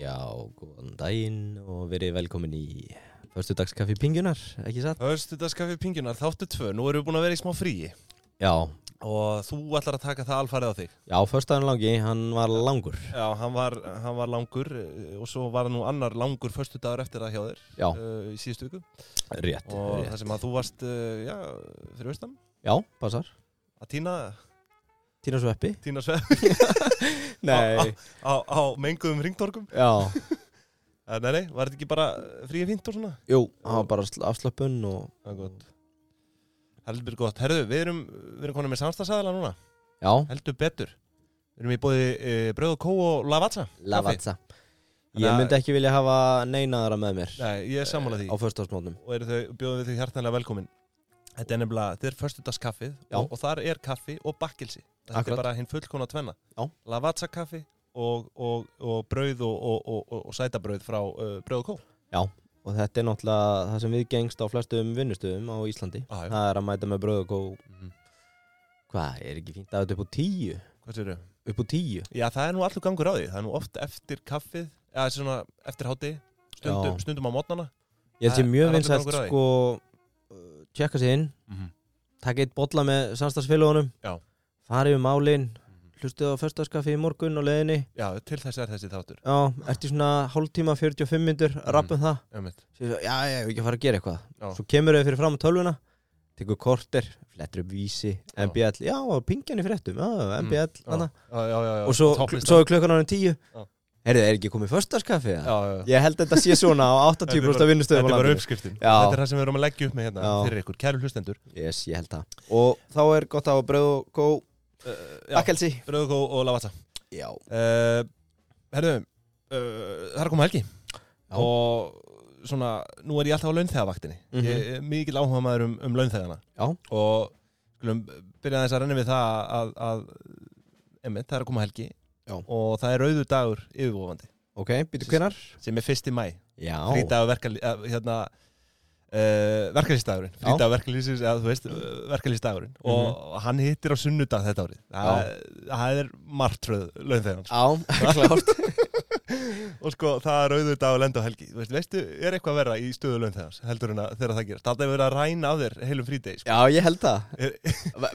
Já, góðan daginn og verið velkomin í Förstu dagskaffi Pingjunar, ekki satt? Hörstu dagskaffi pingjunar, þáttu tvö, nú erum við búin að vera í smá fríi Já, og þú ætlar að taka það alfarið á þig. já, förstaðan langi, hann var langur Já, hann var, hann var langur eh, og svo var nú annar langur förstu dagur eftir það hjá þér Já, uh, í síðustu viku rétt, og rétt það sem að þú varst, uh, já, fyrir austan, Já, passar, að týna, tína svo eppi týna sveð Nei, á, á menguðum ringtorkum. já, Eh, Nei, nei, var þetta ekki bara fríi fínt og svona? jú, hann var bara afslöpun og Það er gott. Heldur gott. Herðu, við erum, við erum konar með samstagsæðala núna, Já, heldur betur. Við erum í bóði uh, Bröð og Kó og Lavazza. lavatsa Ég Þannig að- myndi ekki vilja hafa neinaðara með mér Nei, ég er sammála því á förstaðsmótnum og eru þau, bjóðum við þau hjartanlega velkomin Þetta er nefnilega, þetta er förstudagskaffið Já. og, og þar er kaffi og bakkilsi Þetta Akkurat. er bara hinn fullkona tvenna Já. Lavazza kaffi og, og, og brauð og, og, og, og, og sætabrauð frá uh, brauð og kó Og þetta er náttúrulega það sem við gengst á flestum vinnustöðum á Íslandi Já, já. Það er að mæta með bröð og kó Hvað, er ekki fínt að þetta er upp á tíu? Hvað sér þau? Upp á tíu? Já, það er nú allur gangur á því Það er nú oft eftir kaffið eða svona eftir hátti Já. stundum, stundum á mótnana Ég held Það- sé mjög það er allur vinsælt gangur á því. sko uh, tjekka sig inn, taka eitt bolla með samstagsfélagunum, Já. Mhm. farið um málin, hlustuðu á föstaskaffi í morgun og leiðinni, Já, til þess er þessi þáttur já, ertu í svona hálftíma 45 myndur, rappum það, Einmitt. sér svo, já, já, ég vil ekki að fara að gera eitthvað. Mhm. Já. Svo kemur þau fyrir fram á tölvuna, tekur korter, flettur upp vísi, Já. MBL, já, og pingjan í fréttum, já, MBL, Já, mm. já, já, já, já. og svo, Topplista. svo er klukkan ánum tíu, Já. heyrðu, er ekki komið föstaskaffi Já, það? já, já. Ég held að þetta sé svona á 80% af vinnustöðum á Þetta er bara landinu. uppskriftin Já. Þetta er það sem við erum að leggja upp með hérna Já. fyrir ykkur, kæru hlustendur Yes, ég held það. Og þá er gott að hafa bröð og kó uh, bakkelsi. Bröðugó og Lavazza Já. uh, Herðu, uh, það er að koma helgi Já. Og svona, nú er ég alltaf á launþegavaktinni Mhm. Ég er mikil áhuga maður um, um launþegana Já. Og skulum byrja þess að renna við það að, að Einmitt, það er að koma helgi Já. Og það er rauður dagur yfirvofandi Ok, býtu hvenar? Sem er fyrst í mæ Já. Frídagur verkal, að, hérna Uh, verkalýstagurinn, Já. Mhm. frídag verkalýsins eða þú veist, eh, verkalýstagurinn og hann hittir á sunnudag þetta árið það, það er martröð launþegans Á, klárt. og sko það er auðvitað dag að lenda á helgi Þú veist, veistu, er eitthvað verra í stöðu laun þegans heldur en að þegar það gerast, það er verið að ræna af þér heilum frídegi sko. Já, ég held það. Er-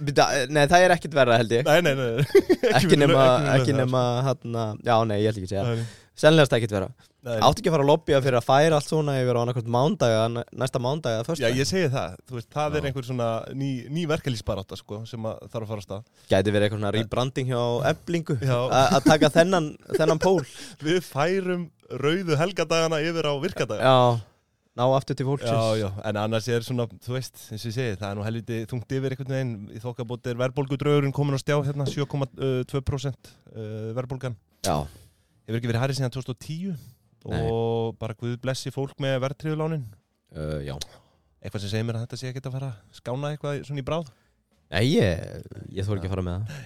Býtu, eh, nei, það er ekkert verra held ég. nei, nei, nei, nei. Ekki við nema, laun- ekki við laun nema, hérna, já, nei, ég held ekki að segja. þegans. Sennilegast ekkert verra. Nei, nei. Áttu ekki að fara að lobbya fyrir að færa allt svona yfir á annarkvæmt mándaga, næsta mándaga eða Já, första. ég segi það, þú veist, það Já. er einhver svona ný, ný verkelísbarátta, sko, sem að þarf að fara að stað Gæti verið eitthvað svona rebranding hjá eblingu. Já. Að að taka þennan, þennan pól. Við færum rauðu helgadagana yfir á virkadaga Já. Ná aftur til fólksins. Já, já, en annars er svona, þú veist, eins og ég segi, það er nú helviti þungt yfir einhvern veginn, í þokkabóti er verðbólgudraugurinn komin á stjá hérna, 7,2% eh, verðbólgan Já. hefur ekki verið hærri síðan 2010 Nei. og bara guð blessi fólk með verðtriðulánin Uh, já. eitthvað sem segir mér að þetta sé ekki að fara að skána eitthvað svona í bráð Nei, ég, ég þór ekki að fara með það.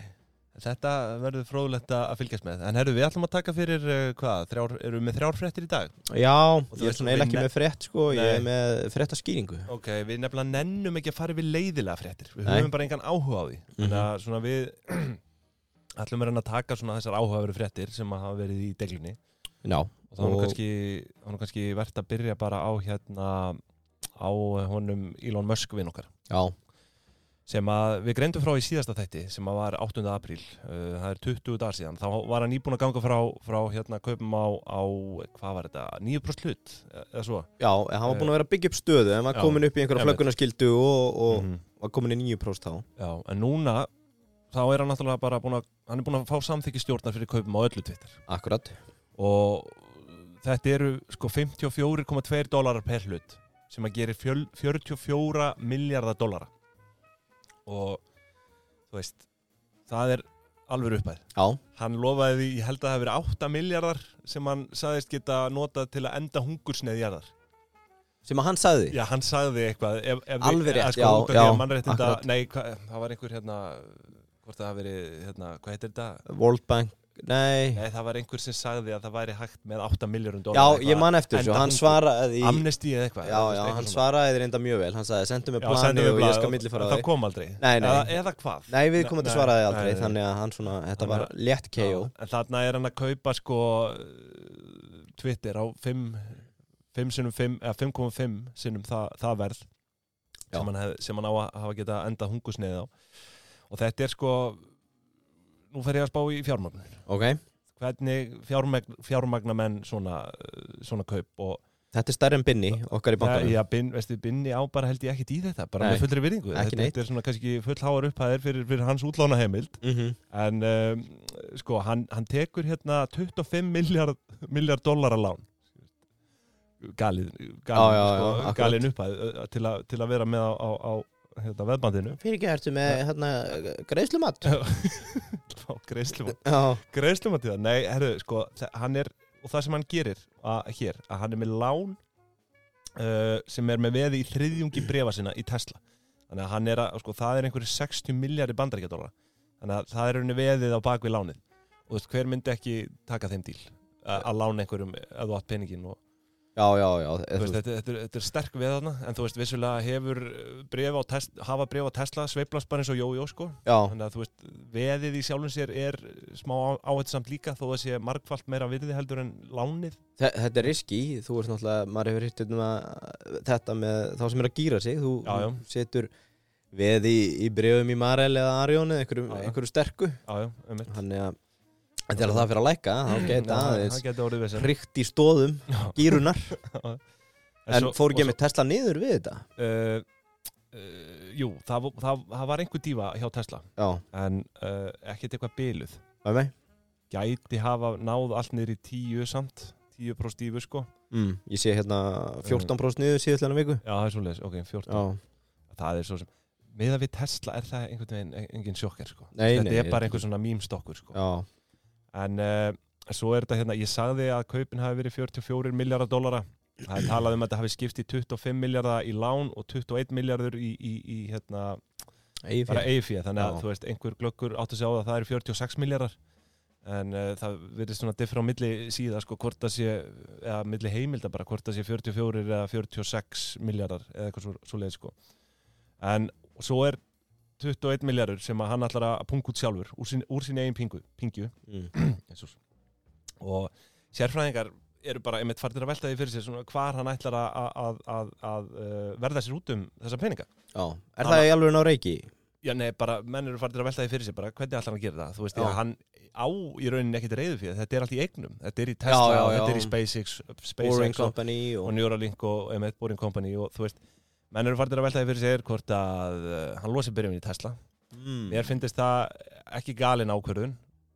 þetta verður fróðlegt að að fylgjast með en herru, við ætlum að taka fyrir eh, hvað, þrjár, erum við með þrjár fréttir í dag Já, þú ég er veist, svona við eiginlega ekki ne- með frétt sko, ég er Nei. með fréttaskýringu. ok, við nefnilega nennum ekki að fara við leiðilega fréttir við Nei. höfum bara engan áhuga á því þannig að svona við ætlum að reyna að taka svona þessar áhugaveru fréttir sem að hafa verið í deglunni Já, og þá er nú Og- kannski, þá er nú kannski verðt að byrja bara á hérna á eh, honum Elon Musk vinn okkar já, sem að við greindum frá í síðasta þætti sem að var 8. apríl uh, það er 20 dagar síðan, þá var hann íbúin að ganga frá, frá hérna kaupum á, á hvað var þetta, 9% hlut e, eða svo já, en hann var búin að vera að byggja upp stöðu en var Já, komin upp í einhverja einmitt. flöggunarskildu og, og Mhm. var komin í nýju próst þá. Já, en núna þá er hann náttúrulega bara búin að hann er búin að fá samþykki stjórnar fyrir kaupum á öllu Twitter Akkurat. og þetta eru sko 54,2 dólarar per hlut sem að gerir fjöl, 44 miljardar dólara og þú veist það er alveg uppæð Já, Hann lofaði því, ég held að það hafi verið 8 miljardar sem hann sagðist geta notað til að enda hungursneið jarðar. sem að hann sagði. Já, hann sagði eitthvað. Ef, ef við- Alveg rétt, að sko, já, út af því já, að mannréttinda, akkurat. nei, hva, það var einhver hérna, hvort það hafi verið, hérna, hvað heitir þetta? World Bank, nei. Nei, það var einhver sem sagði að það væri hægt með 8 já, miljardur dólar. ég man eftir þessu, enda hann hungur. svaraði í... Amnesty eða eitthvað. Já, já, hann svaraði þér enda mjög vel, hann sagði sendu mig Já, sendu plani mér og ég blað skal millifara Það þig. kom aldrei. Nei, nei. Eða, eða hvað? Nei, við komum Nei, til svaraði nei, aldrei, nei. þannig að hann svona, þetta Hann var létt KO. En þarna er hann að kaupa sko Twitter á 5 5 sinnum 5, eða 5,5 sinnum það, það verð Já. sem hann, hef, sem hann á að hafa geta enda hungusneið á og þetta er sko nú fer ég að spá í fjármagn Ok, hvernig fjármagn, fjármagna menn svona, eh, svona kaup og þetta er stærri en binni okkar í Já, bankanum já, bin, veistu, binni á bara held ég ekkit í þetta bara Nei, með fullri virðingu ekki þetta, neitt. þetta er svona kannski fullháar upphæðir fyrir, fyrir hans útlánaheimild Mhm. en um, sko, hann, hann tekur hérna 25 miljard, miljard dollara lán galið, galið, Já, já, sko, já, akkurat. galin upphæð uh, til, a, til að vera með á, á, á hérna, veðbandinu Fyrir ekki ertu með hérna, greiðslumat á greiðslumat Já, greiðslumat í það, nei, herru, sko þa- hann er, og það sem hann gerir að, hér, að hann er með lán uh, sem er með veði í þriðjungi brefa sinna í Tesla þannig að hann er að, sko, það er einhverju 60 miljardi bandaríkjadóla þannig að það er henni veðið á bakvið lánið og þú veist, hver myndi ekki taka þeim díl að, að lána einhverjum að þú átt peningin og já, já, já þú þú veist, veist, þetta, þetta, er, þetta er sterk við þarna en þú veist, vissulega hefur bref á Tesla, hafa bref á Tesla sveiflast bara eins og jójó, sko Já, þannig að þú veist, veðið í sjálfum sér er smá áhættsamt líka þó að sé margfalt meira virði heldur en lánið þe- þetta er riski Þú ert náttúrulega, maður hefur hitt um að þetta með þá sem er að gýra sig Þú Já, já. setur veð í, í bregðum í Marel eða Arjón eða einhverju, Já, já. einhverju sterku já, já, um Þannig að þegar það fyrir að læka þá geta aðeins það geta orðið vesen. hrygt í stóðum Já, gýrunar já. En svo- fór og ekki með Tesla niður við þetta svo, uh, uh, Jú, það, vo- það, það var einhver dífa hjá Tesla Já, en uh, ekkert eitthvað byluð með mig gæti hafa náð allt niður í tíu samt 10 próst dífu sko mm, Ég sé hérna 14% niður síðustlega viku Já, það er svo ok, 14 Já, Það er svo sem Meða við Tesla er það einhvern veginn engin sjokker sko Nei, Þetta nei, er ég- bara einhver svona mýmstokkur sko já, En uh, svo er þetta hérna, ég sagði að kaupin hafi verið 44 miljardar dólara. Það er talað um að þetta hafi skipt í 25 miljardar í lán og 21 miljardur í, í, í hérna, eigi bara EIFI. Þannig að Já. þú veist, einhver glöggur átt að segja á það að það eru 46 miljardar. En uh, það verðist svona diffra á milli síða, sko, hvort það sé, eða milli heimilda bara, hvort það sé 44 eða 46 miljardar eða eitthvað svo, svo leið, sko. En svo er 21 miljardur sem að hann ætlar að punga út sjálfur úr sín, úr sín eigin pingu, pingju. mm. Jesus. og sérfræðingar eru bara einmitt fartir að velta því fyrir sér svona, hvar hann ætlar að, að, að, að uh, verða sér út um þessa peninga Já, er það í alveg ná reiki? Já, nei, bara menn eru fartir að velta því fyrir sér bara hvernig ætlar hann að gera það, þú veist, Já. ég, hann á í rauninni ekkit reyðu fyrir þetta er allt í eignum, þetta er í Tesla, Já, já, og þetta já. er í SpaceX, Boring SpaceX og, Company og og... Neuralink og einmitt Boring Company og þú veist, menn eru fartir að velta því fyrir sér hvort að uh, hann losi byrjum í Tesla Mm. mér finnst það ekki galin ákvörðun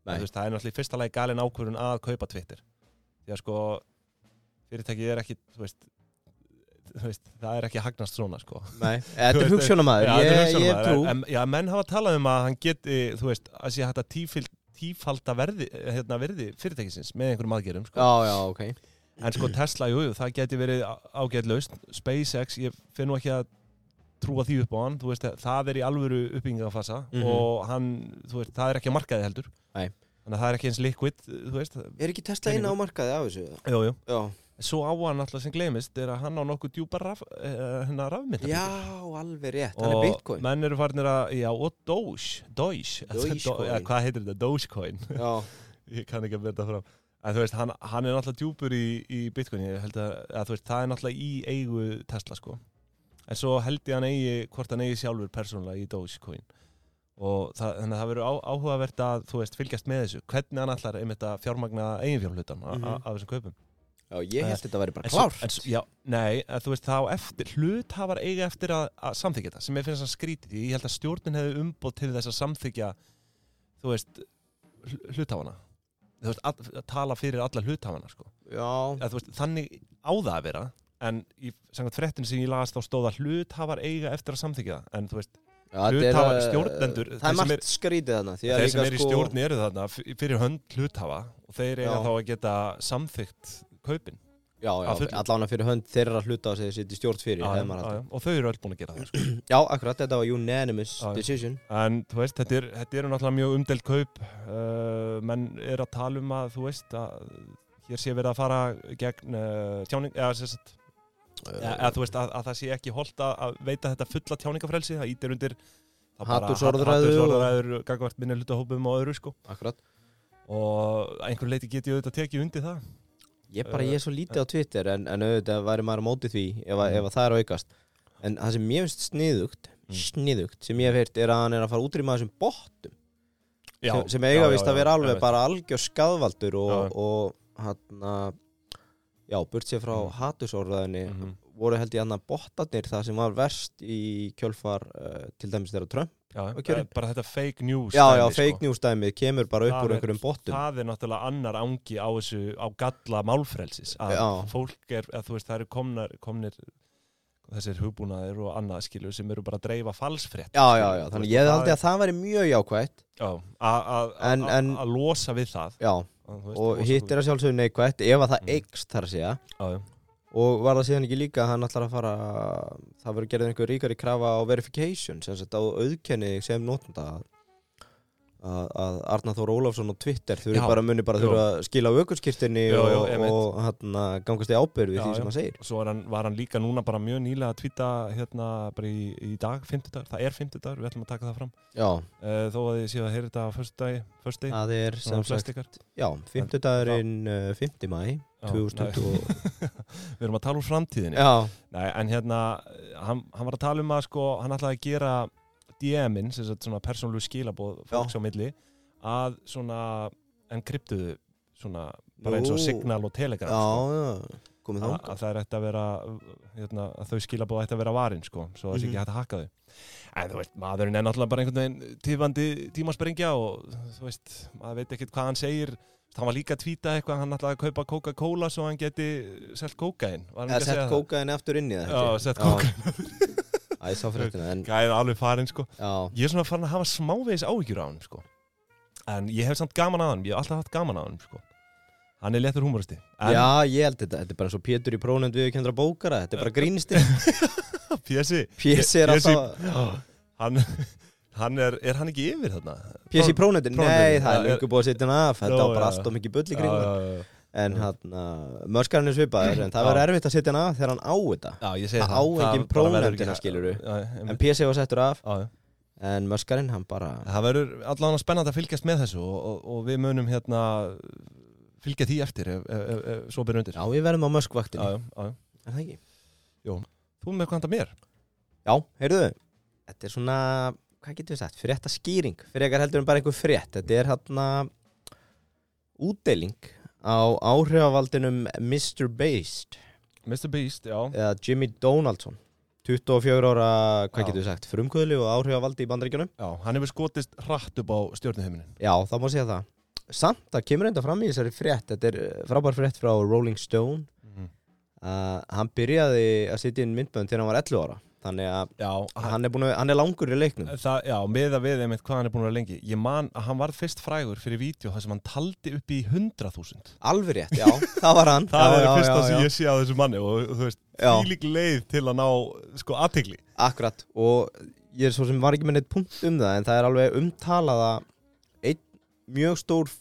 Nei. En, þú veist, það er náttúrulega í fyrsta lagi galin ákvörðun að kaupa Twitter því að sko fyrirtækið er ekki þú veist, þú veist, það er ekki að hagnast svona sko. Nei, þetta er Þú veist, hugsunamaður, Já, þetta er ég, hugsunarmaður, ég trú en, já, menn hafa talað um að hann geti þú veist, að sé hægt að tífild, tífalda verði, hérna, verði fyrirtækisins með einhverjum aðgerum sko. Já, já, ok en sko Tesla, jú, jú, það geti verið ágætt laust SpaceX, ég finn nú ekki að trúa því upp á hann, þú veist, það er í alvöru uppbyggingafasa Mhm. og hann, þú veist, það er ekki að markaði heldur Nei. þannig að það er ekki eins liquid, þú veist Er ekki Tesla inn á markaði af þessu? jú, jú. Já, svo á hann alltaf sem glemist er að hann á nokkuð djúpar raf, eh, hérna rafmynda já alveg rétt, hann er og bitcoin menn eru farnir að já, og Doge, Doge, Dogecoin. Eða hvað heitir þetta, Dogecoin Já, ég kann ekki að verða fram en þú veist, hann, hann er náttúrulega djúpur í, í Bitcoin ég held að, að þú veist, það er náttúrulega í eigu Tesla sko en svo held ég hann eigi, hvort hann eigi sjálfur persónulega í Dogecoin og það, þannig að það verður á, áhugavert að þú veist, fylgjast með þessu, hvernig hann ætlar einmitt að fjármagna eiginfjárhlutan mm Mhm. af þessum kaupum já, ég Eh, held þetta væri bara En svo- klárt en svo- já, nei, að þú veist, þá eftir hluthafar eiga eftir að, að samþykja þetta sem ég finnst að skrítið, því ég held að stjórnin hefði umboð til þess að samþykja þú veist, hl- hluthafana þú veist, að, að tala fyrir alla hluthafana, sko, Já, að, þú veist, þannig á það að vera, en í samkvæmt frettin sem ég las þá stóð að hluthafar eiga eftir að samþykja það, en þú veist já þetta er, hluthafar, eh, stjórnendur, Það þeir er sem margt skrítið þarna því að þeir sem líka eru í sko- stjórn eru þarna f- fyrir hönd hluthafa og þeir eiga Já. þá að geta samþykt kaupin Já, að já, fullu. allána fyrir hönd þeirra hluta sem þeir sitt í stjórn fyrir Já, hefði já, maður já, haldið. já. og þau eru öll búin að gera það sko. Já, akkurat, þetta var unanimous Já, já. decision En þú veist, þetta, er, þetta eru náttúrulega mjög umdelt kaup uh, menn er að tala um að þú veist að hér sé verið að fara gegn uh, tjáning eða, sem sagt, eða, eða þú veist að, að það sé ekki holt að, að veita þetta fulla tjáningafrelsi það ítir undir það bara- Hatursorðræðu hatursorðræðu gagvart minni hlutahópum og öðru sko Akkurat og að einhverju leiti get ég auðvitað tekið undir það Ég bara, ég er svo lítið Eh, á Twitter en, en auðvitað væri maður á móti því ef, Mm. að- ef að það er að aukast En það sem ég finnst sniðugt sniðugt sem ég hef heyrt er að hann er að fara að útrýma þessum bottum já, sem, sem já, eiga já, vist að já, vera alveg einmitt. bara algjör skadvaldur og, Já. og hann að já, burt sér frá Mhm. hatursorðaðinni Mhm. voru held ég hann að bottarnir það sem var verst í kjölfar uh, til dæmis þeirra Trump Já, Og bara, kjörin. bara þetta fake news Já, já, dæmi, sko. fake news dæmið kemur bara upp Það úr er- einhverjum bottum það er náttúrulega annar angi á þessu á galla málfrelsis að Já. fólk er, að þú veist, það eru komnar, komnir þessir hugbúnaðir og annað skilu sem eru bara að dreifa falsfrétt Já, já, já, sko. þannig ég hefði haldið að það væri mjög jákvætt En- en- að losa við það Já, að, þú veist, og losa hitt við- er að sjálfsögðu neikvætt ef að það Mm. eikst þar að segja Já, já. og var það síðan ekki líka að hann ætlar að fara það verður gerðið einhver ríkari krafa á verification sem sagt á auðkenni sem notanda að- að, að Arnar Þór Ólafsson og Twitter þau Já. bara muni bara Jú. þurfa að skila á aukurskirtinni Jú, jú, og, einmitt. og hann gangast í ábyrð við Já, því já. sem hann segir svo er hann, var hann líka núna bara mjög nýlega að tvíta hérna bara í, í dag, 50 það er 50 við ætlum að taka það fram Já, uh, þó að ég sé að heyra þetta á förstu dagi, förstu dagi, það er sem sagt Já, eh, 50 dagurinn 50 mæ 2020 við erum að tala um úr framtíðinni Já, Nei, en hérna, hann, hann var að tala um að sko, hann ætlaði að gera DM-in, sem sagt svona persónlu skilabóð fólks á milli, að svona enkryptuðu svona, bara eins og Nú. Signal og já, Telegram sko. já, komið að, þá að það er eftir að vera hérna, að þau skilabóð ætti að vera varin sko, svo það sé Mhm. ekki hægt að hakka þau en þú veist, maðurinn er náttúrulega bara einhvern veginn tífandi tímasprengja og þú veist, maður veit ekkert hvað hann segir hann var líka að tvíta eitthvað, hann ætlaði að kaupa Coca-Cola svo hann geti selt kókain Var Eða hann ekki að segja sett það? kókaðin eftir inn í það Já, sett kókaín. Æ, sá fréttina, en Gæði alveg farin sko já, Ég er svona farin að hafa smávegis áhyggjur á hann sko. En ég hef samt gaman að hann Ég hef alltaf haft gaman að hann sko. Hann er léttur húmoristi En já, ég held þetta, þetta er bara eins og Pétur í prónend við kendra bókara, þetta er bara grínstinn Pési Pési er Pési- alltaf, hann, hann er, er hann ekki yfir þarna? Pési í prónendin, nei prónendin, það já, er löngu búið að setja hann af, þetta Já, var bara já. allt og mikið bull í já, kringum, já, já. en hann, mörskarinn er svipaður, en það Já. var erfitt að setja hann af þegar hann á þetta, já, ég segi Það það á engin bara verður prónefndina, ekki- skilurðu. Já, einmitt. en Pési var settur af, Já, já. en mörskarinn hann bara, Það verður allavega spennandi að fylgjast með þessu og, og, og við munum hérna fylgja því eftir ef, ef, ef, ef svo byrjum undir já, við verðum á já, möskvaktinu, já, já. er það ekki? Þú með eitthvað handa mér? Já, heyrðu, þetta er svona, hvað getur við sagt, frétta skýring, frekar heldur en bara einhver frétt, þetta er hann útdeling á áhrifavaldinum Mr. Beast Mr. Beast, já eða Jimmy Donaldson, 24 ára, Já. hvað getur við sagt, frumkvöðli og áhrifavaldi í bandaríkjunum? Já, hann hefur skotist hratt upp á stjórnuheiminin. Já, það má segja það. Samt, það kemur enda fram í þessari frétt, þetta er eh, frábær frétt frá Rolling Stone, uh, hann byrjaði að sitja inn myndbönd þegar hann var 11 ára, þannig að Já, hann, hann er, búin að, hann er langur í leiknum. það, já, með að við einmitt hvað hann er búin að vera lengi. Ég man að hann varð fyrst frægur fyrir vídeo þar sem hann taldi upp í 100.000. Alveg rétt, já, það var hann já, Það er já, fyrsta já, sem já. ég sé á þessu manni og þú veist, Já. fílík leið til að ná sko aðtegli. Akkurat og ég er svo sem var ekki með neitt punkt um það en það er alveg umtalað að einn mjög stór,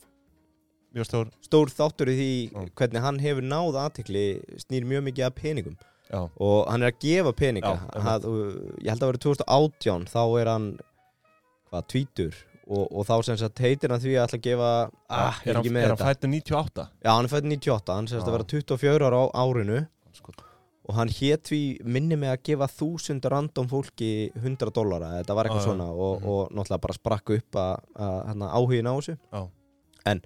Mjög stór. stór þáttur í því Mm. hvernig hann hefur náð aðtekli snýr mjög mikið að peningum Já, og hann er að gefa peninga Já, einmitt. það, og ég held að vera 2018 þá er hann hvað, tvítur og, og þá sem sagt heitir hann því að ætla að gefa ah, ég er er hann, ekki með er hann þetta fættur 98? Já, hann er fætt 98, hann sem sagt Já. að vera 24 ára á árinu Sko, og hann hét því minni með að gefa þúsund random fólki 100 dollara, þetta var eitthvað Já, já. svona og, Mhm. og náttúrulega bara sprakk upp að, að hana, áhugin á þessu Já. en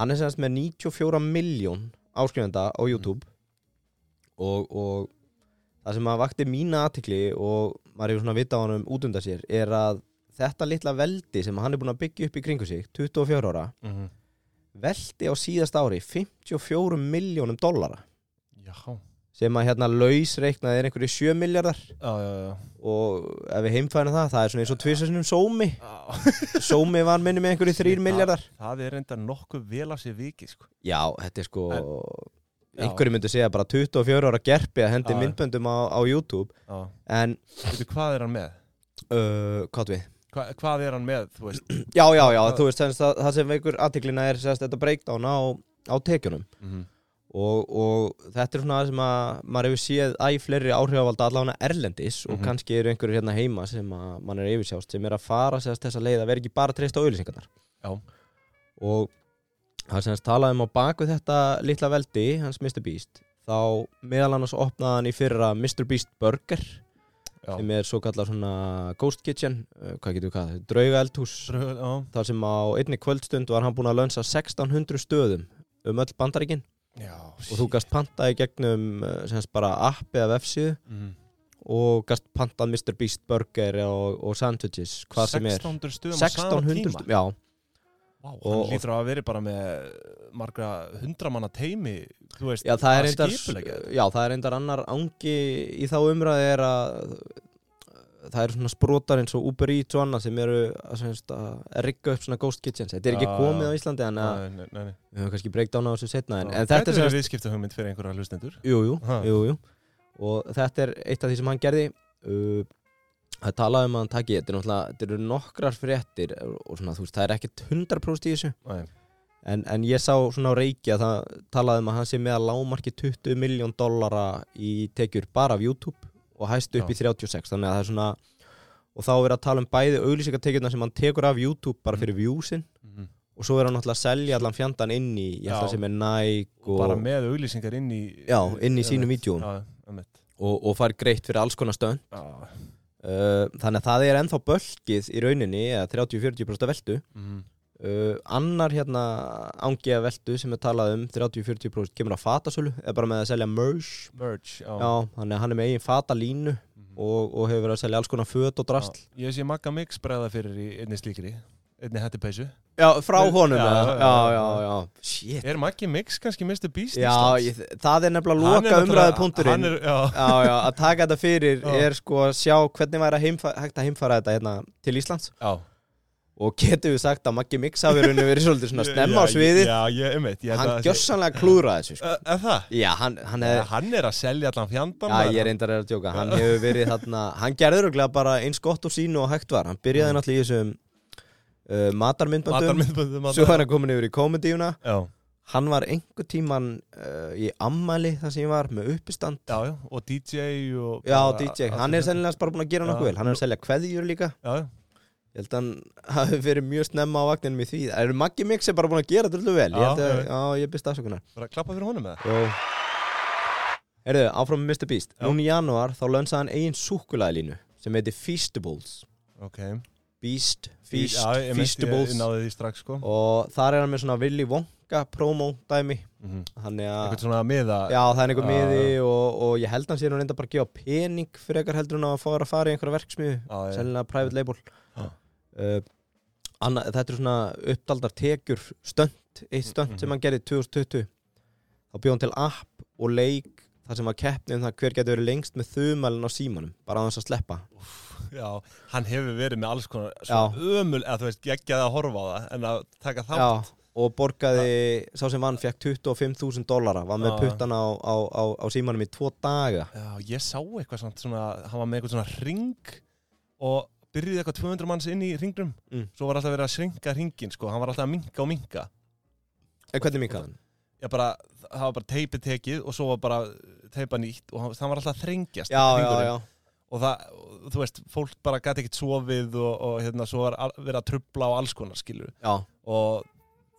hann er semst með 94 miljón áskrifenda Mhm. á YouTube og, og það sem að vakti mína aðtikli og maður hefur svona vita á hann um útunda sér er að þetta litla veldi sem hann er búin að byggja upp í kringu sig 24 ára, Mhm. veldi á síðast ári 54 miljónum dollara Já. Já, sem að hérna lausreiknað er einhverju 7 miljardar já, já. og ef við heimfæðum það, það er svona eins og tvisarsinnum sómi já. sómi var minni með einhverju 3 miljardar Það er enda nokkuð vel af sér vikið, sko. já, þetta er sko En- Já. einhverju myndi segja bara 24 ára gerpi að hendi Já. myndböndum á, á YouTube Já. en Veitu, hvað er hann með? uh, hvað við? Hva, hvað er hann með, þú veist? Já, já, já, Já. þú veist semst, það, það sem einhver aðtiklina er semst, þetta breakdown á, á tekjunum og, og þetta er svona það sem að maður hefur séð æg fleiri áhrifavald allavega erlendis og Mhm. kannski eru einhverjur hérna heima sem að mann er yfirsjást sem er að fara sérst þessa leið að vera ekki bara treyst á auðlýsingarnar Já. og hann sem hans talaði um á baku þetta litla veldi, hans Mr. Beast þá meðal annars opnaði hann í fyrra Mr. Beast Burger Já. sem er svo kallar svona Ghost Kitchen, uh, hvað getur við kallað, drauga eldhús Drög- Já, þar sem á einni kvöldstund var hann búinn að lönsa 1600 stöðum um öll bandaríkin já og þú gast pantað í gegnum eh, sem sagt bara app eða vefsíðu mm. og gast pantað Mr. Beast burger og, og sandwiches hvað sem er 1600 stöðum 1600 á sama tíma stöðum, já, Vá, Og- hann lítur að vera bara með margra hundramanna teimi þú veist, já, það er að reyndar skipuleggja þetta. já, það er reyndar annar angi í þá umræði er að það eru svona sprotar eins og Uber Eats og annað sem eru að, sem sagt, að rigga upp svona ghost kitchens þetta er ekki Já, komið já. á Íslandi en að, Nei, nei, nei, nei. við höfum kannski breakdown á þessu setna en, Já. en þetta er sem verið viðskipta hugmynd fyrir einhverja hlustendur Jú, jú, Ha. jú, jú. Og þetta er eitt af því sem hann gerði uh, að tala um að hann taki þetta er náttúrulega, þetta eru nokkrar fréttir og svona, þú veist, það er ekkert 100% í þessu Nei. en, en ég sá svona á reiki að það talaði um að hann sé með að lámarki 20 miljón dollara í tekjur bara af YouTube og hæstu upp Já. í 36 þannig að það er svona og þá er að tala um bæði auglýsingatekjurna sem hann tekur af YouTube Mm. bara fyrir viewsin Mhm. og svo er hann náttúrulega að selja allan fjandan inn í, ég held Já. það sem er Nike og, bara með auglýsingar inn í Sko- Já, inn í sínum Einmitt. vídjóum. Já, einmitt. og, og fær greitt fyrir alls konar stönd Já. Uh, þannig að það er ennþá bölkið í rauninni eða 30-40% af veltu Mhm. uh, annar hérna ángi af veltu sem er talað um 30-40% kemur á fatasölu eða bara með að selja merge merch já. já, þannig að hann er með eigin fatalínu Mhm. og, og hefur verið að selja alls konar föt og drast Já, Ég sé Magga Mix bregða fyrir í einni slíkri einni hættipeysu já, frá Já, honum já, já, já, já, já. já, já. shit Er Maggi Mix kannski Mr. Beast já, Íslands? ég, það er nefnilega Hann er loka umræðu náttúrulega- hann punkturinn er- Já, já, já, að taka þetta fyrir Já. er sko að sjá hvernig væri að heimfa- hægt að heimfara þetta hérna til Íslands já. og getum við sagt að Maggi Mix hafi í rauninni verið svolítið svona Já, snemma á sviði Já, ég einmitt ég held hann að það sé- gjössanlega klúra þessu sko. Ö, Er það? já, hann, hann Nei. hefði Hann er að selja allan Já, fjandan ég reyndar er að djóka, hann hefur verið þarna Hann gerður örugglega bara eins gott og sínu og hægt var Hann byrjaði Já. náttúrulega í þessum uh, matarmyndböndum Matarmyndböndum Svo var hann komin yfir í komedíuna Já, Hann var einhver tíman uh, í ammæli þar sem ég var með uppistand já, já, og DJ og Já, bara- DJ, allt hann er þetta. sennilega bara búin að gera Já. nokkuð vel Hann er að selja kveðjur líka Já, já, Ég held að hann hafi verið mjög snemma á vagninum í því Það eru Maggi Mix er bara búin að gera drullu vel Ég, Já, held að, já. já, ég byrst afsökunar bara klappa fyrir honum með það Jó Herðu, áfram með Mr. Beast Já. Núna í janúar þá lönsaði hann eigin súkulæðilínu sem heiti Feastables Ok Beast, Feast, Já, ég meinti- Feastables Ég náði því strax, sko og þar er hann með svona Willy Wonka promo dæmi Mhm. þannig að Eitthvað svona miða Já, það er einhver Já, miði og, og ég held hann sér hún reynda bara að gefa pening fyrir eitthvað heldur en að fara að fara í einhverja verksmiðu Já, já. sennilega private label Já. uh, anna, Þetta er svona uppdaldar tekjur stönd, eitt stönd Mhm. sem hann gerði 2020 þá bjóð hann til app og leik þar sem var keppni um það hver getur verið lengst með þumælinn á símanum bara á þess að sleppa Já, hann hefur verið með alls konar Svo ömul, eða þú veist, geggjaði að horfa á það En að taka þátt Já, og borgaði, sá sem vann fekk 25.000 dollara, var með Já. puttan á, á, á, á símanum í tvo daga Já, ég sá eitthvað samt svona, hann var með eitthvað svona ring og byrjuði eitthvað 200 manns inn í ringnum Mm. svo var alltaf verið að sringa ringin, sko, hann var alltaf að minka og minka En Eh, hvernig minkaði hann? ég bara, það var bara teipið tekið og svo var bara teipa nýtt og hann, hann var alltaf að þrengjast Já, já, hringurinn. já, og það, og þú veist, fólk bara gæti ekkert sofið og, og hérna, svo var al- verið að trubla á alls konar, skilur já, og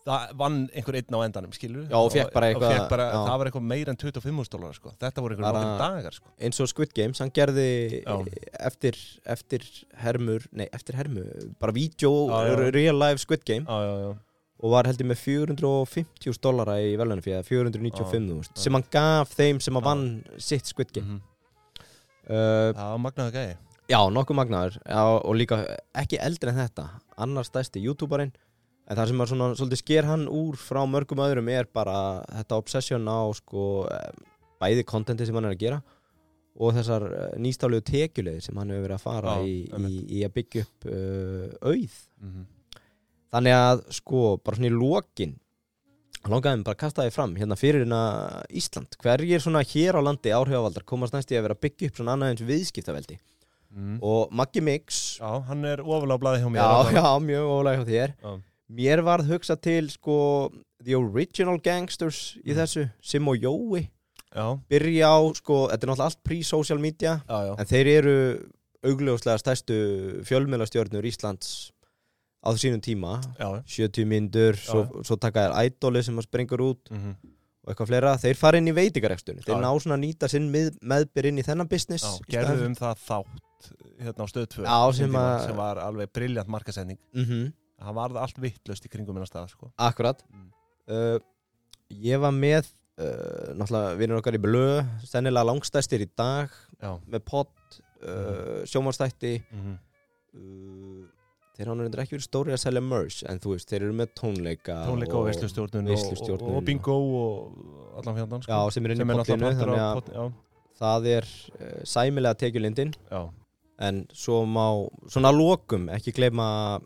það vann einhver einn á endanum, skilur Já, og fékk bara eitthvað- já. það var eitthvað meira en 25.000 dólar, sko þetta voru einhver Bara- nokkur dagar, sko eins og Squid Games, hann gerði Já. eftir, eftir hermur, nei, eftir hermu bara vídeo, Já, já. real life Squid Game Já, já, já, og var heldur með 450 dollara í velunum fyrir 495 þú veist, Já. sem hann gaf þeim sem að Já. vann sitt Squid Game Mhm. uh, það var magnaðu gæði Já, nokkuð magnaður já, og líka ekki eldri en þetta annars stæsti youtuberinn en það sem er svona, svolítið sker hann úr frá mörgum öðrum er bara þetta obsession á sko eh, bæði kontenti sem hann er að gera og þessar eh, nýstálegu tekjulegir sem hann hefur verið að fara Já, í, í, einmitt. í að byggja upp uh, auð mm þannig að sko, bara svona í lokin langaðum bara að kasta því fram hérna fyrir hérna Ísland hverjir svona hér á landi áhrifavaldar komast næst í að vera að byggja upp svona annað eins viðskiptaveldi Mm. og Maggi Mix Já, hann er ofalega á blaði hjá mér Já, já, já, mjög ólega hjá þér Já. Mér varð hugsa til sko The Original Gangsters í Mm. þessu Sim og Jói já, Byrja á sko, þetta er náttúrulega allt pre-social media já, já. En þeir eru augljóslega stærstu fjölmiðlastjörnur Íslands á á sínum tíma já, 70 myndur, svo, svo taka þér ædoli sem að springur út mm -hmm. og eitthvað fleira, þeir fara inn í veitikarekstunni þeir Já. ná svona að nýta sinn mið, meðbyr inn í þennan business já um. í staðinn gerðum það þátt hérna á stöð 2 Já, sem að- sem var alveg briljant markasending fyrir- Mhm, það varð allt vittlust í kringum minna stað sko. Akkurat Mm. uh, Ég var með uh, náttúrulega vinnur okkar í blöð sennilega langstæstir í dag já, með pott, Mhm. uh, sjómanstætti mm -hmm. uh, þeir hann er ekki verið stóri að selja merch en þú veist, þeir eru með tónleika tónleika og veislustjórnun og, veislustjórnun og bingo og allan fjöndan sko. Já, hérna. sem er inn sem í er pottinu náttúrulega þannig að partur af pot, já, það er uh, sæmilega tekjulindin já, en svo má, svona að lokum ekki gleyma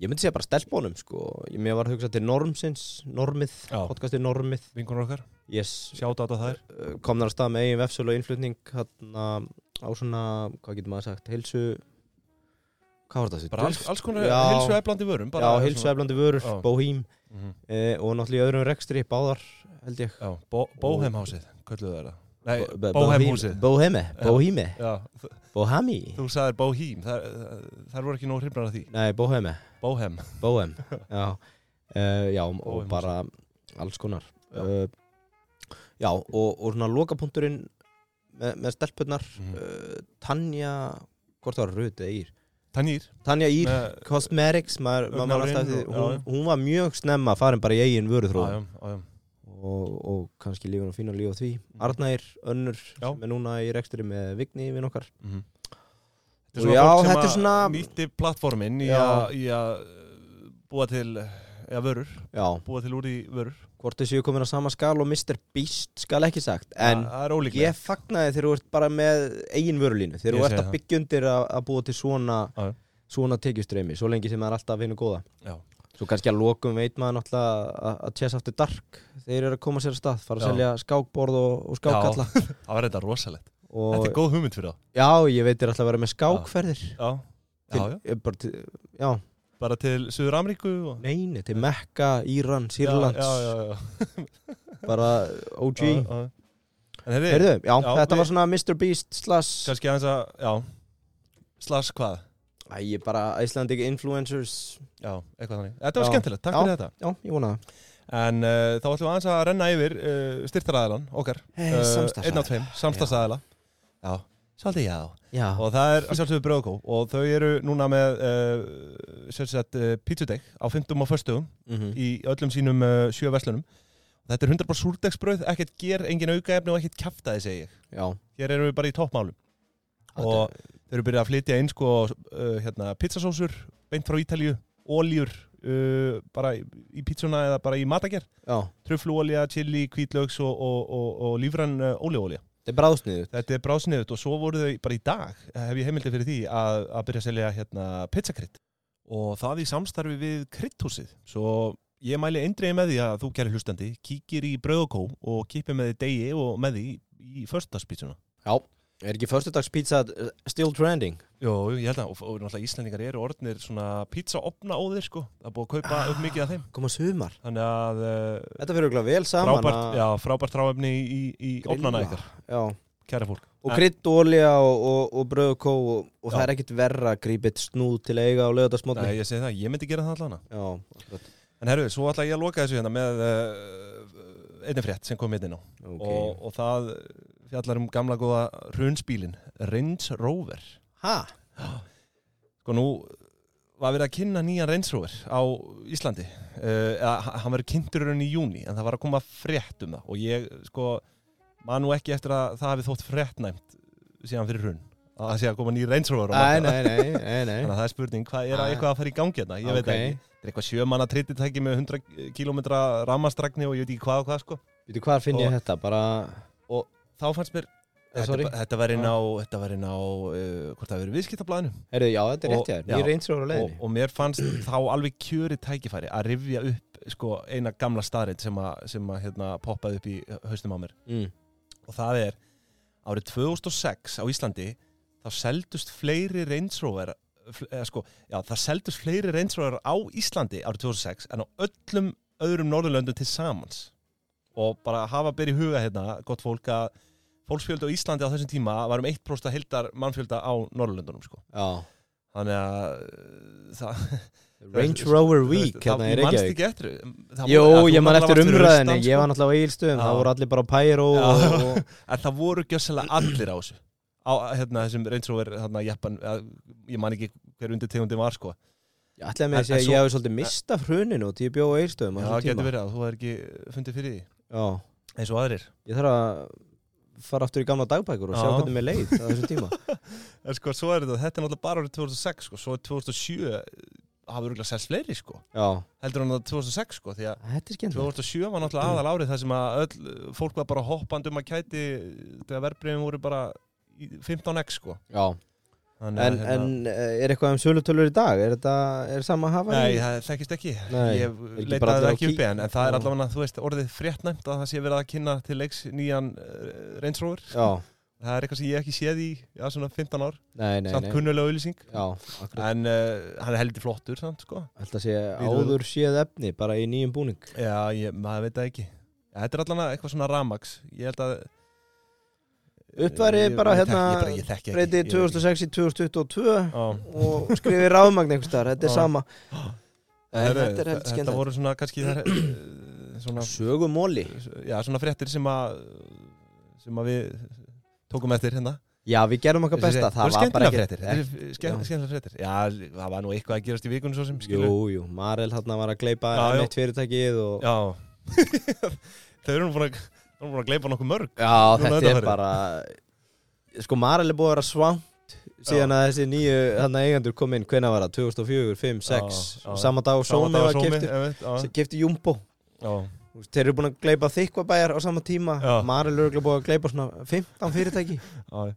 ég myndi segja bara stelpónum sko Ég- mér var að hugsa til Normsins, Normið Já. podcastið Normið, vingunur okkar yes sjáta á þær Uh, komnar að stað með eigin vefsöl og innflutning hérna á svona, hvað getur maður sagt heilsu hvað var það þessu? bara alls, alls konar Já. heilsu eflandi vörum bara já, heilsu eflandi vörur, Já. bóhím mm -hmm. eh, og náttúrulega í öðrum rekstri, báðar held ég Já, bó, Bóheimhásið, kölluðu það Nei, Bo- bo- Bóheimhúsið Bóhemi, Já. bóhími, Já, þ- bóhami þú sagðir Bóhím Þar, þar voru ekki nóg hrifnar af því nei, bóhemi, Bóhem bóhem já, uh, já og Bóhem. bara alls konar Já. já, já og, og svona lokapunkturinn með, með stelpunnar Mhm. uh, Tanja, hvort það var Rut eða Ír Tanýr Tanja Ír með- Cosmetics maður, maður man Augnaráðin alltaf eftir, og- já, hún, já. hún var mjög snemma farin bara í eigin Já, vöruþróun já, já, já. og, og kannski lífin og fína líf á því Arnær, önnur Mm. Já. sem er núna í reksturi með Vigni vinn okkar Og Mhm. Þetta er svona já, fólk sem þetta er að svona- nýtti plattformin í Já. að í að, uh, búa til eða vörur, Já, búa til úr í vörur hvort þau séu komin að sama skal og Mr. Beast skal ekki sagt en Það það er ólíklega ég fagnaði þegar þú ert bara með eigin vörulínu þegar Ég þú segi ert að það. byggja undir að, að búa til svona Já, já. svona tekjustreymi, svo lengi sem það er alltaf vinnu góða Já. Svo kannski að lokum veit maður náttúrulega að- að Chess After Dark þeir eru að koma sér að stað, fara að Já. selja skákborð og, og skákalla Það var þetta rosalegt Þetta og er góð hugmynd fyrir það já, ég veit þér alltaf að vera með skákferðir Já, já, já já. Bara, til, já, Bara til Suður Ameríku og... neini, til Mekka, Íran, Sýrlands Já, já, já, já. bara OG já, já. En heyrðu, Heyrðu, já, Já, þetta við- var svona Mr. Beast slash kannski aðeins að, já Slash hvað? Æ, ég bara Icelandic Influencers Já, eitthvað þannig Þetta var Já. skemmtilegt, takk Já. fyrir þetta Já, ég vona það En uh, þá ætlum við aðeins að renna yfir uh, styrtaræðilan, okkar Eh, Eh, samstarfsaðila. Einn af tveim, samstagsæðila Já, svolítið já Já, Og það er að sjálfsögðu Bröðgó Og þau eru núna með uh, Sjálfsagt uh, pítsudeg á 50 og 40 mhm. Í öllum sínum uh, sjö verslunum Þetta er 100% súrdegsbröð Ekkert ger, engin aukaefni og ekkert kjaftaði segi ég já Hér erum við bara í toppmálum þetta- og þeir eru byrjað að flytja inn sko uh, hérna, pizzasósur, beint frá Ítalíu oljur, uh, bara í, í pizzuna eða bara í matager Já, tröfluolja, chili, kvítlaugs og, og, og, og lífrann uh, óleolja þetta er bráðsniðu þetta er brásniðut og svo voru þau bara í dag hef ég heimildi fyrir því að, að byrja að selja hérna, pizzakrydd og það í samstarfi við kryddhúsið svo ég mæli eindriði með því að þú kæri hlustandi kíkir í brauð og kó og kipir með því degi og með því í förstaspizzuna Já, er ekki förstudagspizza still trending? Jó, ég held að, og, og náttúrulega Íslandingar eru orðnir svona pizzaopna óðir sko, það er búið að kaupa Ah. upp mikið af þeim Koma sumar Þannig að uh, Þetta fyrir örugglega vel saman frábært, að já, frábært ráefni í, í grilla. opnana ykkar, Já, kæra fólk og En- krydd og olja og, og, og bröð og kó og, og Já. það er ekkit verra að grípa eitt snúð til að eiga á Nei, lögðarsmótni ég segi það, ég myndi gera það allan Já, akkurat. En herru, svo ætla ég að loka þessu hérna með uh, einnig frétt sem kom hérna ok okay. og, og það fjallar um gamla góða runspílin, Range Rover Ha? Sko nú var verið að kynna nýjan Range Rover á Íslandi uh, eða h- hann verið kynntur í rauninni í júni en það var að koma frétt um það og ég sko man nú ekki eftir að það hafi þótt fréttnæmt síðan fyrir hrun að það sé að koma nýjan Range Rover á Nei, markað. nei, nei, nei, nei. þannig að það er spurning hvað er Ah. að eitthvað að fara í gangi hérna ég veit Ok. það ekki það er eitthvað sjömanna trittitæki með 100 km rammastragni og ég veit ekki hvað og hvað sko Veitu hvað finn ég Og- þetta? Bara, þá fannst mér Eh, þetta, sorry. ba- þetta var inn á, þetta var inn á uh, hvort það verið viðskiptablaðinu heyrðu, já, þetta er Og- rétt ég já. Nýr einsróður á og, leiðinni og mér fannst þá alveg kjöri tækifæri að rifja upp sko, eina gamla staðrind sem, að- sem að, hérna, poppaði upp í haustum á mér mm. og það er árið 2006 á Íslandi þá seldust fleiri Range Rover fl- eða, sko, já, það seldust fleiri Range Rover á Íslandi árið 2006 en á öllum öðrum Norðurlöndum til samans og bara hafa byrja í huga hérna gott fólk að fólksfjöldi á Íslandi á þessum tíma var um 1% að heildar mannfjölda á Norðurlöndunum sko Já, þannig að uh, það, Range Rover Week það, hérna í það mannst Reykjavík ekki eftir það Jó, voru- þú ég man eftir náttúrulega varst fyrir umræðinni, ég austan, sko. var náttúrulega á Egilstöðum, Já. það voru allir bara á Pyro Já. og, og, En það voru gjössalega allir á þessu á hérna, þessum reynsróver hérna, Japan, að, ég man ekki hver undir tegundin var sko ég ætlaði En- með að en segja, svo- ég hafi svolítið mistað hruninu til ég bjó á Egilstöðum á Já, þessum það tíma. getur verið að þú er ekki fundið fyrir því Já, eins og aðrir ég þarf að fara aftur í gamla dagbækur og sjá Já. hvernig mér leið á þessum tíma En sko, svo er þetta, þetta er náttúrulega bara árið 2006 sko, svo 2007 hafa örgulega sérst fleiri sko, Já, heldur hann að 2006 sko, því að þetta er skemmt 2007 var náttúrulega aðal árið þar sem að öll, fólk var bara hoppand um að kæti þegar verbreyfum voru bara í 15x sko Já, Þannig en, að, hérna, en eh, er eitthvað um sölutölur í dag? Er þetta, er sama að hafa Nei, í? það þekkist ekki Nei, Ég ekki bara leitaði allir það á ekki uppi kík- en, en það er Já. allavega, þú veist, orðið fréttnæmt að það sé verið að kynna til leiks nýjan uh, reynsrófur Já, Það er eitthvað sem ég hef ekki séð í já, svona 15 ár nei, nei, samt nei kunnulega auðlýsing Já, akkurat En uh, hann er heldur flottur samt, sko Þetta sé Við- áður séð efni, bara í nýjum búning Já, ég, maður veit það ekki Þetta er allavega eitthvað svona ramax Ég held að Uppfærið Ég- bara ég hérna, þekki- ég bara- ég þekki ekki. Breytið Ég- 2006 í 2022 Já. og skrifið ráðmagn einhvers staðar, þetta er Já. sama Nei, Herru, þetta er heldur Þetta skemmt voru svona kannski þær, eh, svona, Sögumóli já, svona fréttir sem að sem að við tókum eftir hérna Já, við gerum okkar Þessi- besta, það voru var bara skemmtilega ekkert fréttir Þetta eru Já. ske- skemmtilega fréttir Já, það var nú eitthvað að gerast í vikunum svo sem skilur Jú, jú, Marel hann var að gleypa Já, já. M1 fyrirtækið og Já Þau eru nú búin að Þau eru búin að gleypa nokkuð mörg Já, Núna þetta er undanfarið. bara Sko, Marel er búið að vera svangt síðan að þessi nýju hann eigendur kom inn, hvenær var það? 2004, 5, 6 Já, já. Sama dag og Sómi var keftur keftur Kefti Jumbo Já, Þú veist, Þeir eru búin að gleypa þykvabæjar á sama tíma Já. Marel er örugglega búið að gleypa svona 15 fyrirtæki já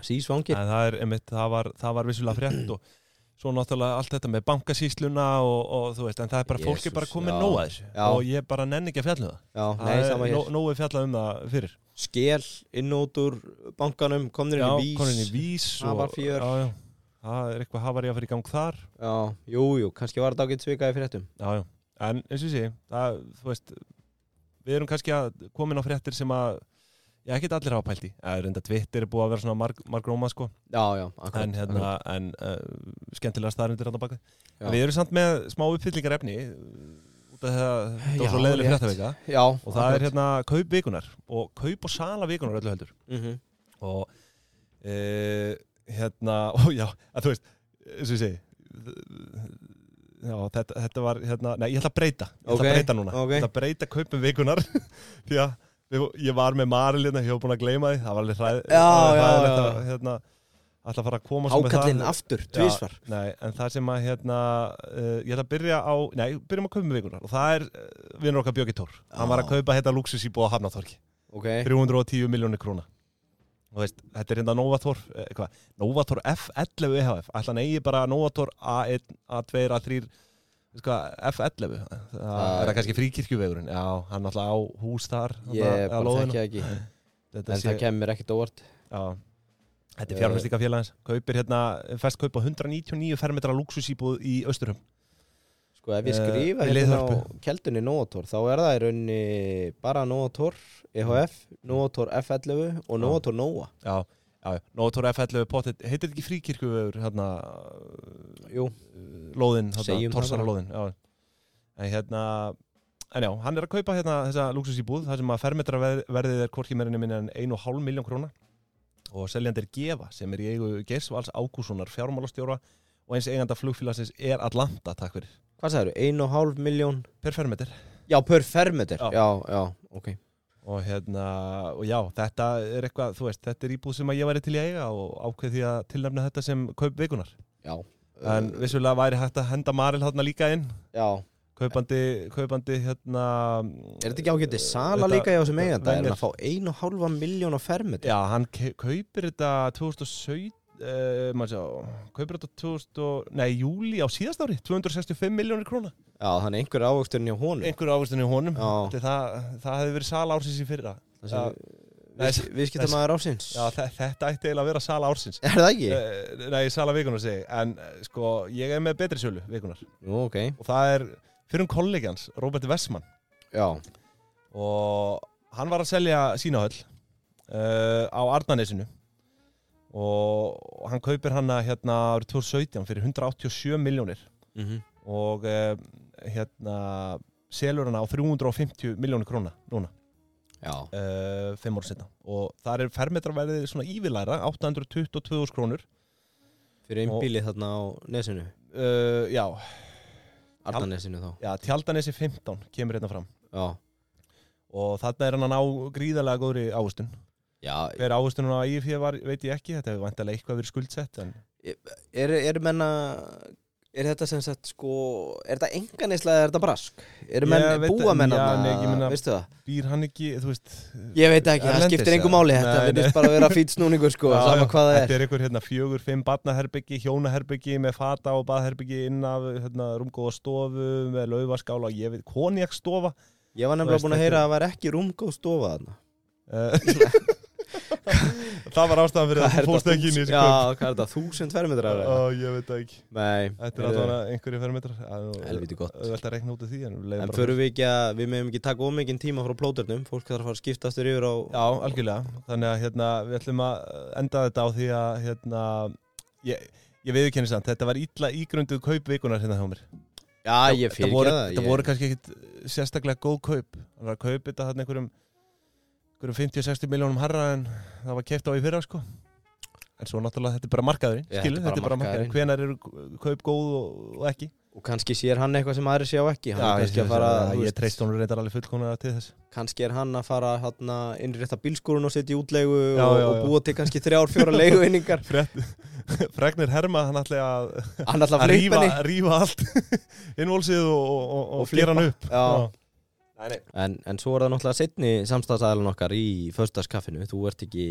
Sí, svangir En það er, einmitt, það var, það var vissulega frétt og svo náttúrulega allt þetta með bankasýsluna og, og þú veist, en það er bara, fólk Jesús, er bara komið já. nóg að þessu Já. og ég bara nenni ekki að fjalla um það. Já, það nei, er sama hér nó- Nógu fjalla um það fyrir. skél inn út úr bankanum komnir Já, inn í vís konin í vís Það var fjör. Já, já, það er eitthvað hafari að fyrir í gang þar. Já, jú, jú, kannski var þetta ágætt svikaði fyrir þetta Já, já, en eins og sé, það, þú veist, við erum kannski að komin á fréttir sem að, já, ekkert allir hafa pælt í. Það er enda Twitter er búið að vera svona marg, margróma, sko. Já, já, akkurat en, hérna, en uh, skemmtilega staðarindir hann á baka Já. við erum samt með smá uppfyllingar efni út af það það Já, var svo leiðileg rétt. fréttavika Já, og það er hérna kaup vikunar og kaup og sala vikunar öllu heldur Mhm. og uh, hérna, ó já, að þú veist eins og ég segi þ- já, þetta, þetta var hérna, nei, ég ætla að breyta ég ætla Ok, að breyta núna, ok. ég ætla að breyta kaupum vikunar því að við, ég var með Maril hérna, ég var búin að gleyma því það var alveg hræð, Já, alveg já, hræðilegt já. að, hérna, ætla að fara að koma svo með það. Hákallinn aftur, Já, tvísvar Nei, en það sem að hérna, uh, ég ætla að byrja á, nei, byrjum að kaupa með vikunar og það er uh, vinnur okkar Bjöggi Tór. Hann var að kaupa hérna lúksus í búa Hafnaþorki, Ok, 310 miljónir króna. Þú veist, þetta er hérna Novator, eh, eitthvað, Novator E F11 EHF, ætla hann eigi bara Novator A1, A2, A3, veist hvað, F11, það Það- er það kannski fríkirkjuvegurinn, já, hann alltaf á hús þar, ég þarna, eða bara þekki lóðina. það ekki þetta En það sé, kemur ekkert óvart já, þetta er fjárfæstika félagins, kaupir hérna, fest kaupa 199 fermetra lúksusíbúð í Östurum. Sko, ef ég Eh, skrifa í hérna á liðhörpu. keldunni Nóator þá er það í rauninni bara E Nóator EHF, Nóator F11 og Nóator Nóa Já, já, já. Nótor F11 pottet, heitir þetta ekki fríkirkjuvefur hérna, Jú, lóðin, hérna, Segjum það torsara bara. lóðin já. En hérna En já, hann er að kaupa hérna þessa lúksus í búð þar sem að fermetraverðið er hvorki meirinni minni en 1,5 miljón króna og seljandi er Gefa sem er í eigu Geirsvals Ágússonar fjármálastjóra og eins eiganda flugfélagsins er Atlanta, takk fyrir hvað sagður, 1,5 miljón per fermetr Já, per fermeter, Já. já, já, ok og hérna, og já, þetta er eitthvað, þú veist, þetta er íbúð sem að ég væri til í að eiga og ákveð því að tilnefna þetta sem kaup vikunar Já, En Eh. vissulega væri hægt að henda Maril hérna líka inn já Kaupandi, kaupandi hérna Er þetta ekki ágætið sala Eh, Þetta- líka hjá sem eiganda? Er venjur. hann að fá einu og hálfa miljón á fermetri? Já, hann ke- kaupir þetta 2017 Uh, sjá, kaupir þetta 2000 og, nei, júli á síðast ári 265 miljónir króna Já, þannig einhver ávægsturinn hjá honum einhverju ávistinu í honum Já. Ætli það, það hefði verið sala ársins í fyrra Já. Við, Viðskipta maður ársins Já, þe- þetta ætti eiginlega að vera sala ársins Er það ekki? uh, nei, sala vikunar segi ég. en eh, sko, ég er með betri sölu vikunar Nú, ok og það er fyrir um kollegjans, Robert Vessmann Já, og hann var að selja sína höll uh, á Arnanesinu og, og hann kaupir hana hérna árið 2017 fyrir 187 miljónir mm -hmm. og eh, hérna selur hana á 350 miljónir króna núna, Já, eh, fimm ára setna og þar er fermetraverðið svona ívilæra 822 krónur fyrir einn Og- bíli þarna á nesinu uh, já, Arnanesinu þá já, tjaldanesi 15 kemur hérna fram Já, og þarna er hann að ná gríðarlega góðri ávistun já hver ávistun á IFF var, veit ég ekki þetta hefur vantilega eitthvað verið skuldsett en er, er menna Er þetta sem sagt sko Er þetta enganislega eða er þetta brask? Er Ég menn veit búa það- menn já, þarna, nei, ég meina- Veistu það? býr hann ekki, þú veist Ég veit ekki, það Erlendis, skiptir engu eða? máli Þetta Nei, finnst bara að vera fýt snúningur sko Já, Sama já. hvað það Þetta er er einhver hérna fjögur, fimm barnaherbyggi, hjónaherbyggi með fata og baðherbyggi inn af hérna, rúmgóða stofu með laufaskála, ég veit, konjakstofa Ég var Þú nefnilega veist, búin að þetta heyra er- að það var ekki rúmgóð stofa þarna Eh, Það var ástæðan fyrir að Hvað er þú fórst þetta, ekki inn í þús- þessi Já, kvöld hvað er þetta, þúsund fermetrar? eða? Ó, Ég veit það ekki Nei Þetta er heyrðu, alltaf einhverju fermetrar Helvíti gott. Þetta er reikna út af því En, við leyfum En bara förum við ekki að, við meðum ekki taka ómikinn tíma frá plóternum Fólk þarf að fara að skiptast þér yfir á Já, algjörlega. Þannig að hérna, við ætlum að enda þetta á því að hérna, ég, ég viðurkenni samt, þetta var illa ígrunduð kaup vikunar hérna hjá mér. Já, ég fyrir ekki það. Voru, það Það ég- voru kannski ekkit sérstaklega góð kaup. Það var að kaup þetta þarna einhverjum, einhverjum 50-60 miljónum harra en það var keift á í fyrra sko. En svo náttúrulega þetta er bara markaðurinn, Já, skilu, þetta er bara markaðurinn. Hvenar eru kaup góð og, og ekki? Og kannski sér hann eitthvað sem aðri sjá ekki Hann er ég, kannski að fara ég, þú ég veist, treyst honum reyndar alveg fullkona til þess. Kannski er hann að fara hann að innrétta bílskúrun og setja í útlegu Já, og, já, og já. búa til kannski þrjár, fjóra leiguinningar Frett, fregnir Herma, hann ætlaði að Hann alltaf að rífa, flipenni rífa allt innvólsið og, og, og, Og og gera hann upp Já. Nei, nei. en, en svo er það náttúrulega setni samstæðsæðan okkar í föstaskaffinu Þú ert ekki,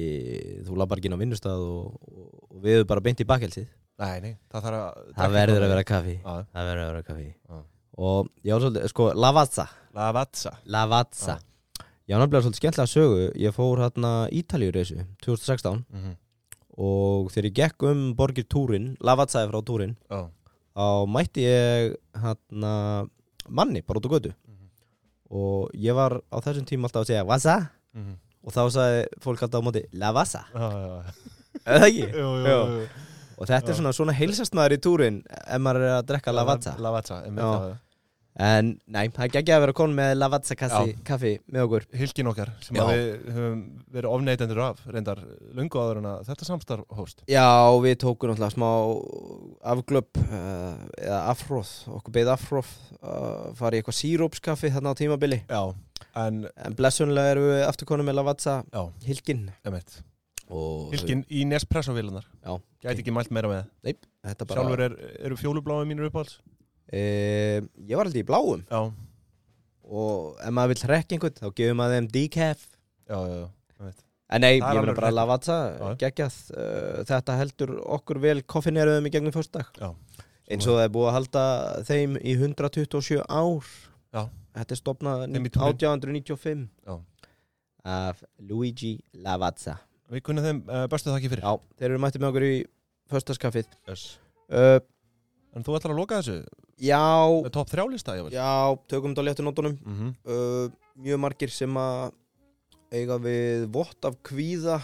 þú labbar ekki inn á vinnustað og, og, og við erum bara beint í bakhelsið Nei, nei, það þarf að Það verður að vera kaffi Já. Það verður að vera kaffi Já. Og ég var svolítið, sko, Lavazza Lavazza Lavazza Ég var náttúrulega svolítið skemmtilega sögu Ég fór hérna Ítalíu reysu 2016 mm -hmm. Og þegar ég gekk um borgir túrin Lavazza er frá túrin Þá mætti ég hérna manni bara út á götu Og ég var á þessum tíma alltaf að segja Vazza Mhm. Og þá sagði fólk alltaf á móti Lavazza Eða ekki? Og þetta er Já. svona, svona heilsast maður í túrin Ef maður er að drekka Lavazza Lavazza einmitt, Já. já, já. En nei, það er ekki að vera konum með Lavazza kassi, kaffi með okkur Hylkin okkar sem Já. að við höfum verið ofneytendur af reyndar lungu áður en að þetta samstarf hóst Já, við tókum náttúrulega smá afglöp uh, eða afróð, okkur beðið afróð uh, farið í eitthvað sírópskaffi þarna á tímabili Já, en en blessunlega erum við aftur konum með Lavazza Já. Hilkin emitt og Hylkin í Nespresso-vilunar Já. Gæti ekki mælt meira með þetta bara Sjálfur er, eru fjólubláðum mínur uppáhalds e, Ég var aldrei í bláum Já, og ef maður vil hrekka einhvern þá gefur maður þeim decaf já, já, já. einmitt. en nei, Það er ég meina alveg bara hrekking. Lavazza Já. geggjað uh, þetta heldur okkur vel koffineraðum í gegnum fyrstak Já. eins og það er búið að halda þeim í 127 ár Já. þetta er stopnað Þeim í túnin. 1895 Já. af Luigi Lavazza Við kunnum þeim uh, bestu þakki fyrir Já, þeir eru mættið með okkur í förstaskaffið yes. uh, En þú ætlar að loka þessu Já, með topp þrjálista ég vel já, tökum þetta á léttu nótunum mm -hmm. uh, mjög margir sem að eiga við vott af kvíða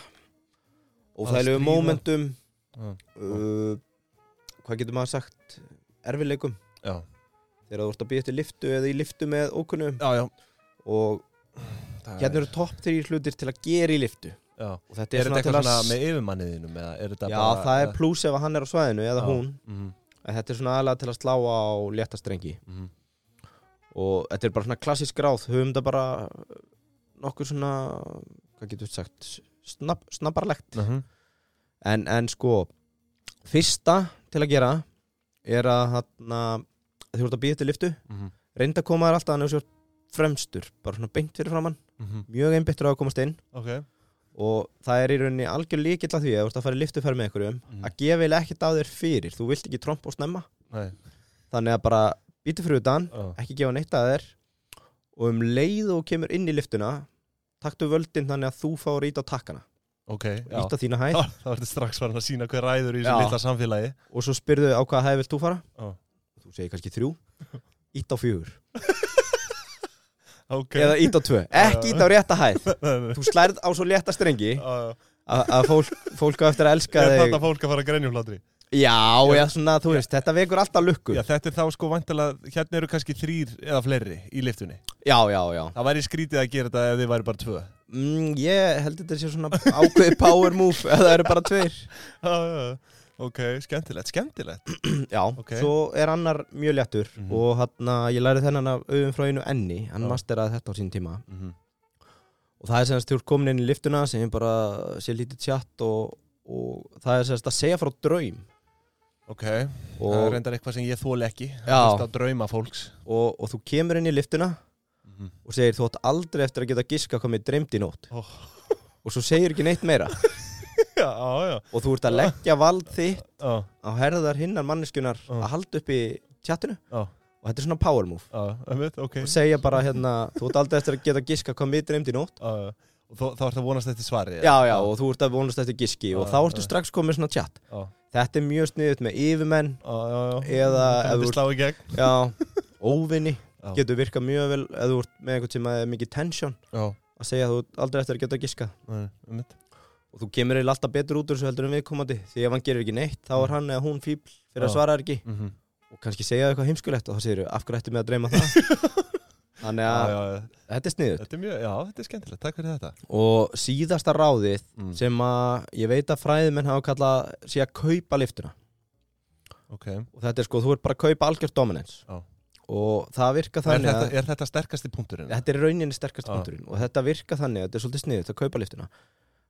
og Að þægilegu stríða. momentum Já. uh, hvað getur maður sagt erfileikum já. þegar þú ert að býja eftir liftu eða í liftu með ókunnum já, já og Það hérna eru topp þrjir hlutir til að gera í liftu já. og þetta Er er, þetta til eitthvað að svona s- með yfirmanniðinum eða er þetta já, bara það er pluss ef að hann er á svæðinu eða Já. hún mm en þetta er svona aðlega til að slá á létta strengi -hmm. og þetta er bara svona klassisk ráð höfum þetta bara nokkur svona hvað getur við sagt snabb, snabbarlegt Mm -hmm. en, en sko fyrsta til að gera er að hana, þú ert að býja til liftu Mm reynda að koma þér alltaf þannig að þú sér fremstur bara svona beint fyrir framann mhm. mjög einbyttur á að komast inn Ok og það er í rauninni algjör líkill að því að þú ert að fara í liftuferð með einhverjum Mhm. að gefa eiginlega ekkert af þér fyrir, þú vilt ekki trompa og snemma Nei þannig að bara býtu fyrir utan Já. ekki gefa neitt að þér og um leið og þú kemur inn í liftuna taktu völdin þannig að þú fáir ít á takkana Ok, já ít á þína hæð Þá þá ertu strax farin að sína hver ræður í Já. þessu litla samfélagi og svo spyrðu á hvaða hæð vilt þú fara Já. þú segir kannski þrjú ít á fjögur Ok eða ít á tvö, ekki ít á rétta hæð Nei, nei. þú slærð á svo létta strengi Já, já. að að fólk, fólk á eftir að elska er þig þarna fólk að fara að grenja úr hlátri Já, já, svona, þú veist, þetta vekur alltaf lukku Já, Já, þetta er þá sko vantilega, hérna eru kannski þrýr eða fleiri í liftunni. já, já, Það væri skrítið að gera þetta ef þið væri bara tvö. Mm, Ég held þetta sé svona ákveði power move ef það eru bara tveir Já, já, já. Ok, skemmtilegt, skemmtilegt. Já, Ok. svo er annar mjög léttur Mhm. og hann ég læri þennan af auðum fráinu enni, hann Já. masteraði þetta á sín tíma Mm -hmm. og það er semst þú ert komin inn í liftuna sem ég bara sé lítið tjatt og, og það er semst að segja frá draum Ok, það er og, reyndar eitthvað sem ég þóli ekki. Já. Það er drauma fólks. og, og þú kemur inn í liftuna Mm og segir þú átt aldrei eftir að geta giska hvað mér dreymdi í nótt Oh. og svo segir ekki neitt meira Já, já, já. og þú ert að leggja vald þitt Já, á herðar hinnar manneskunar Oh. að halda upp í tjattinu já, og þetta er svona power move já, einmitt, ok. og segja bara hérna, þú ert aldrei eftir að geta giska hvað mér dreymdi í nótt Já, já. Og Þá þá ertu að vonast eftir svari. eða? já já og þú ert að vonast eftir giski og Já, þá ertu já. strax komið svona tjatt Já, þetta er mjög sniðut með yfirmenn já, já, já. Eða ef Það þú- er slá í gegn. já, óvinni Já. getur virkað mjög vel eða þú ert með einhvern sem er mikið tension Já, að segja þú ert aldrei eftir að geta giska nei, einmitt. og þú kemur eiginlega alltaf betur út úr þessu heldur en viðkomandi því ef hann gerir ekki neitt þá er hann eða hún fíbl fyrir að Mm. Já. svara þér ekki Mm -hmm. og kannski segja þér eitthvað heimskulegt og þá segir þau af hverju ættu mig að dreyma það þannig já, að já, já. þetta er sniðut Þetta er mjög, já, þetta er skemmtilegt. Takk fyrir þetta. og síðasta ráðið Mm. sem að ég veit að fræðimenn hafa kallað sé að kaupa liftuna Ok. og þetta er sko, þú ert bara að kaupa algjörst dominance Já. og það virka Er þannig þetta, að er þetta sterkasti punkturinn? þetta er í rauninni sterkast Já. punkturinn og þetta virka þannig að þetta er svolítið sniðut að kaupa liftuna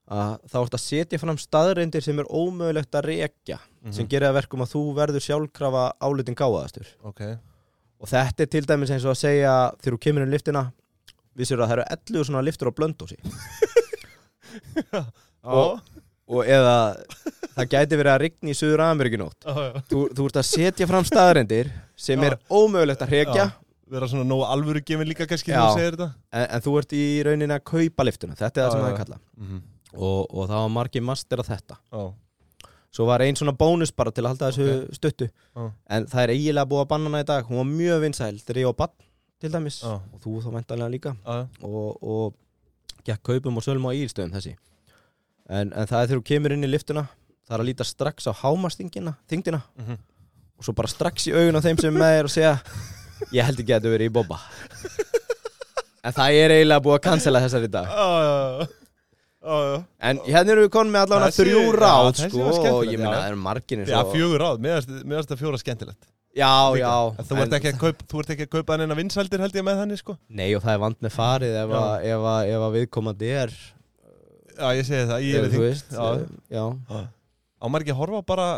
að þá ert að setja fram staðreindir sem er ómögulegt að rekja Mhm. sem gerir að verkum að þú verður sjálfkrafa álitin gáðastur Ok, og þetta er til dæmis eins og að segja þegar þú kemur inn í liftina vissir að það eru 11 svona liftur á blöndósi og, og eða það gæti verið að rigna í Suður Ameríku í nótt já, já. þú, þú ert að setja fram staðarendir sem Já. er ómögulegt að hrekja Já. vera svona nógu alvöru gefin líka kannski Já. þegar þú segir þetta en, en þú ert í rauninni að kaupa liftuna þetta er Já, það sem já, það já. er kalla mm og, og það var margir master að þetta -hmm. svo var einn svona bónus bara til að halda þessu stuttu Já. en það er eiginlega búið að banna hana í dag hún var mjög vinsæl þegar ég var bann til dæmis Já. og þú þá væntanlega líka já, og, og gekk kaupum og sölum á ílstöðum þessi en, en það er þegar þú kemur inn í liftuna það er að líta strax á hámastingina þingdina Mhm. og svo bara strax í augun á þeim sem er með þér og segja ég held ekki að þetta verið í bobba en það er eiginlega búið að cancela þessar í dag já, já, já, já. en hérna erum við konum með allavega Þessi- þrjú já, ráð þessi sko, var skemmtileg, og ég meina já. það eru margir eins Já, og fjögur ráð, meðast, meðast að fjóra skemmtilegt já, já En þú, ert ekki að kaup, þú ert ekki að kaupa hann eina vinsældir held ég með þannig sko nei og það er vand með farið ef, Já. að, ef, að, ef að viðkomandi er eh, Já, ég segi það, ég er þú þing veist Já. já. Á maður ekki að horfa bara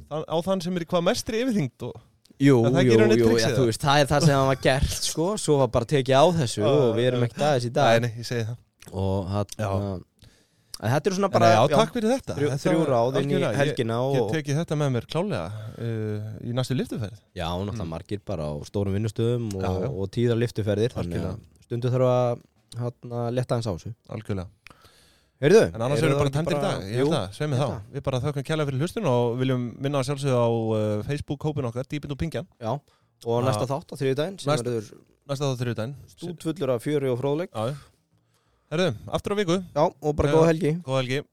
þa- á þann sem er í hvað mestri yfirþyngd og... Jú, En það jú, gerir hún í jú, trixið já, það. þú veist, það er það sem hann var gert sko, svo var bara tekið á þessu Já, og við já, erum já. ekki aðeins í Nei, dag nei, ég segi það og Já. hann Þetta eru svona bara, bara Já, já, takk fyrir þetta þrjú, Þetta þrjú var ráð inn í algjörlega, helgina Ég, ég og, tekið þetta með mér klálega uh, í næstu lyftuferð Já, náttúrulega Mm. margir bara á stórum vinnustöðum og, Já, já. og tíðar liftuferðir þannig Algjörlega. að stundu þarf að hann að letta hans á þessu Algjörlega Heyrðu, En annars eru erum það ekki við bara tæmdir í dag, ég Jú, hérna. held það, segjum við ég þá. held Við bara þökkum kjælega fyrir hlustun og viljum minna að sjálfsögðu á uh, Facebook-hópin okkar, Dýpind og Pingjan, já, og Já. næsta þátt á þriðudaginn sem Ah. Næst- verður næsta þá þriðudaginn. stútfullur af fjöri og fróðleik Já. Herðu, aftur á viku, Já, og bara Já. góða helgi góða helgi.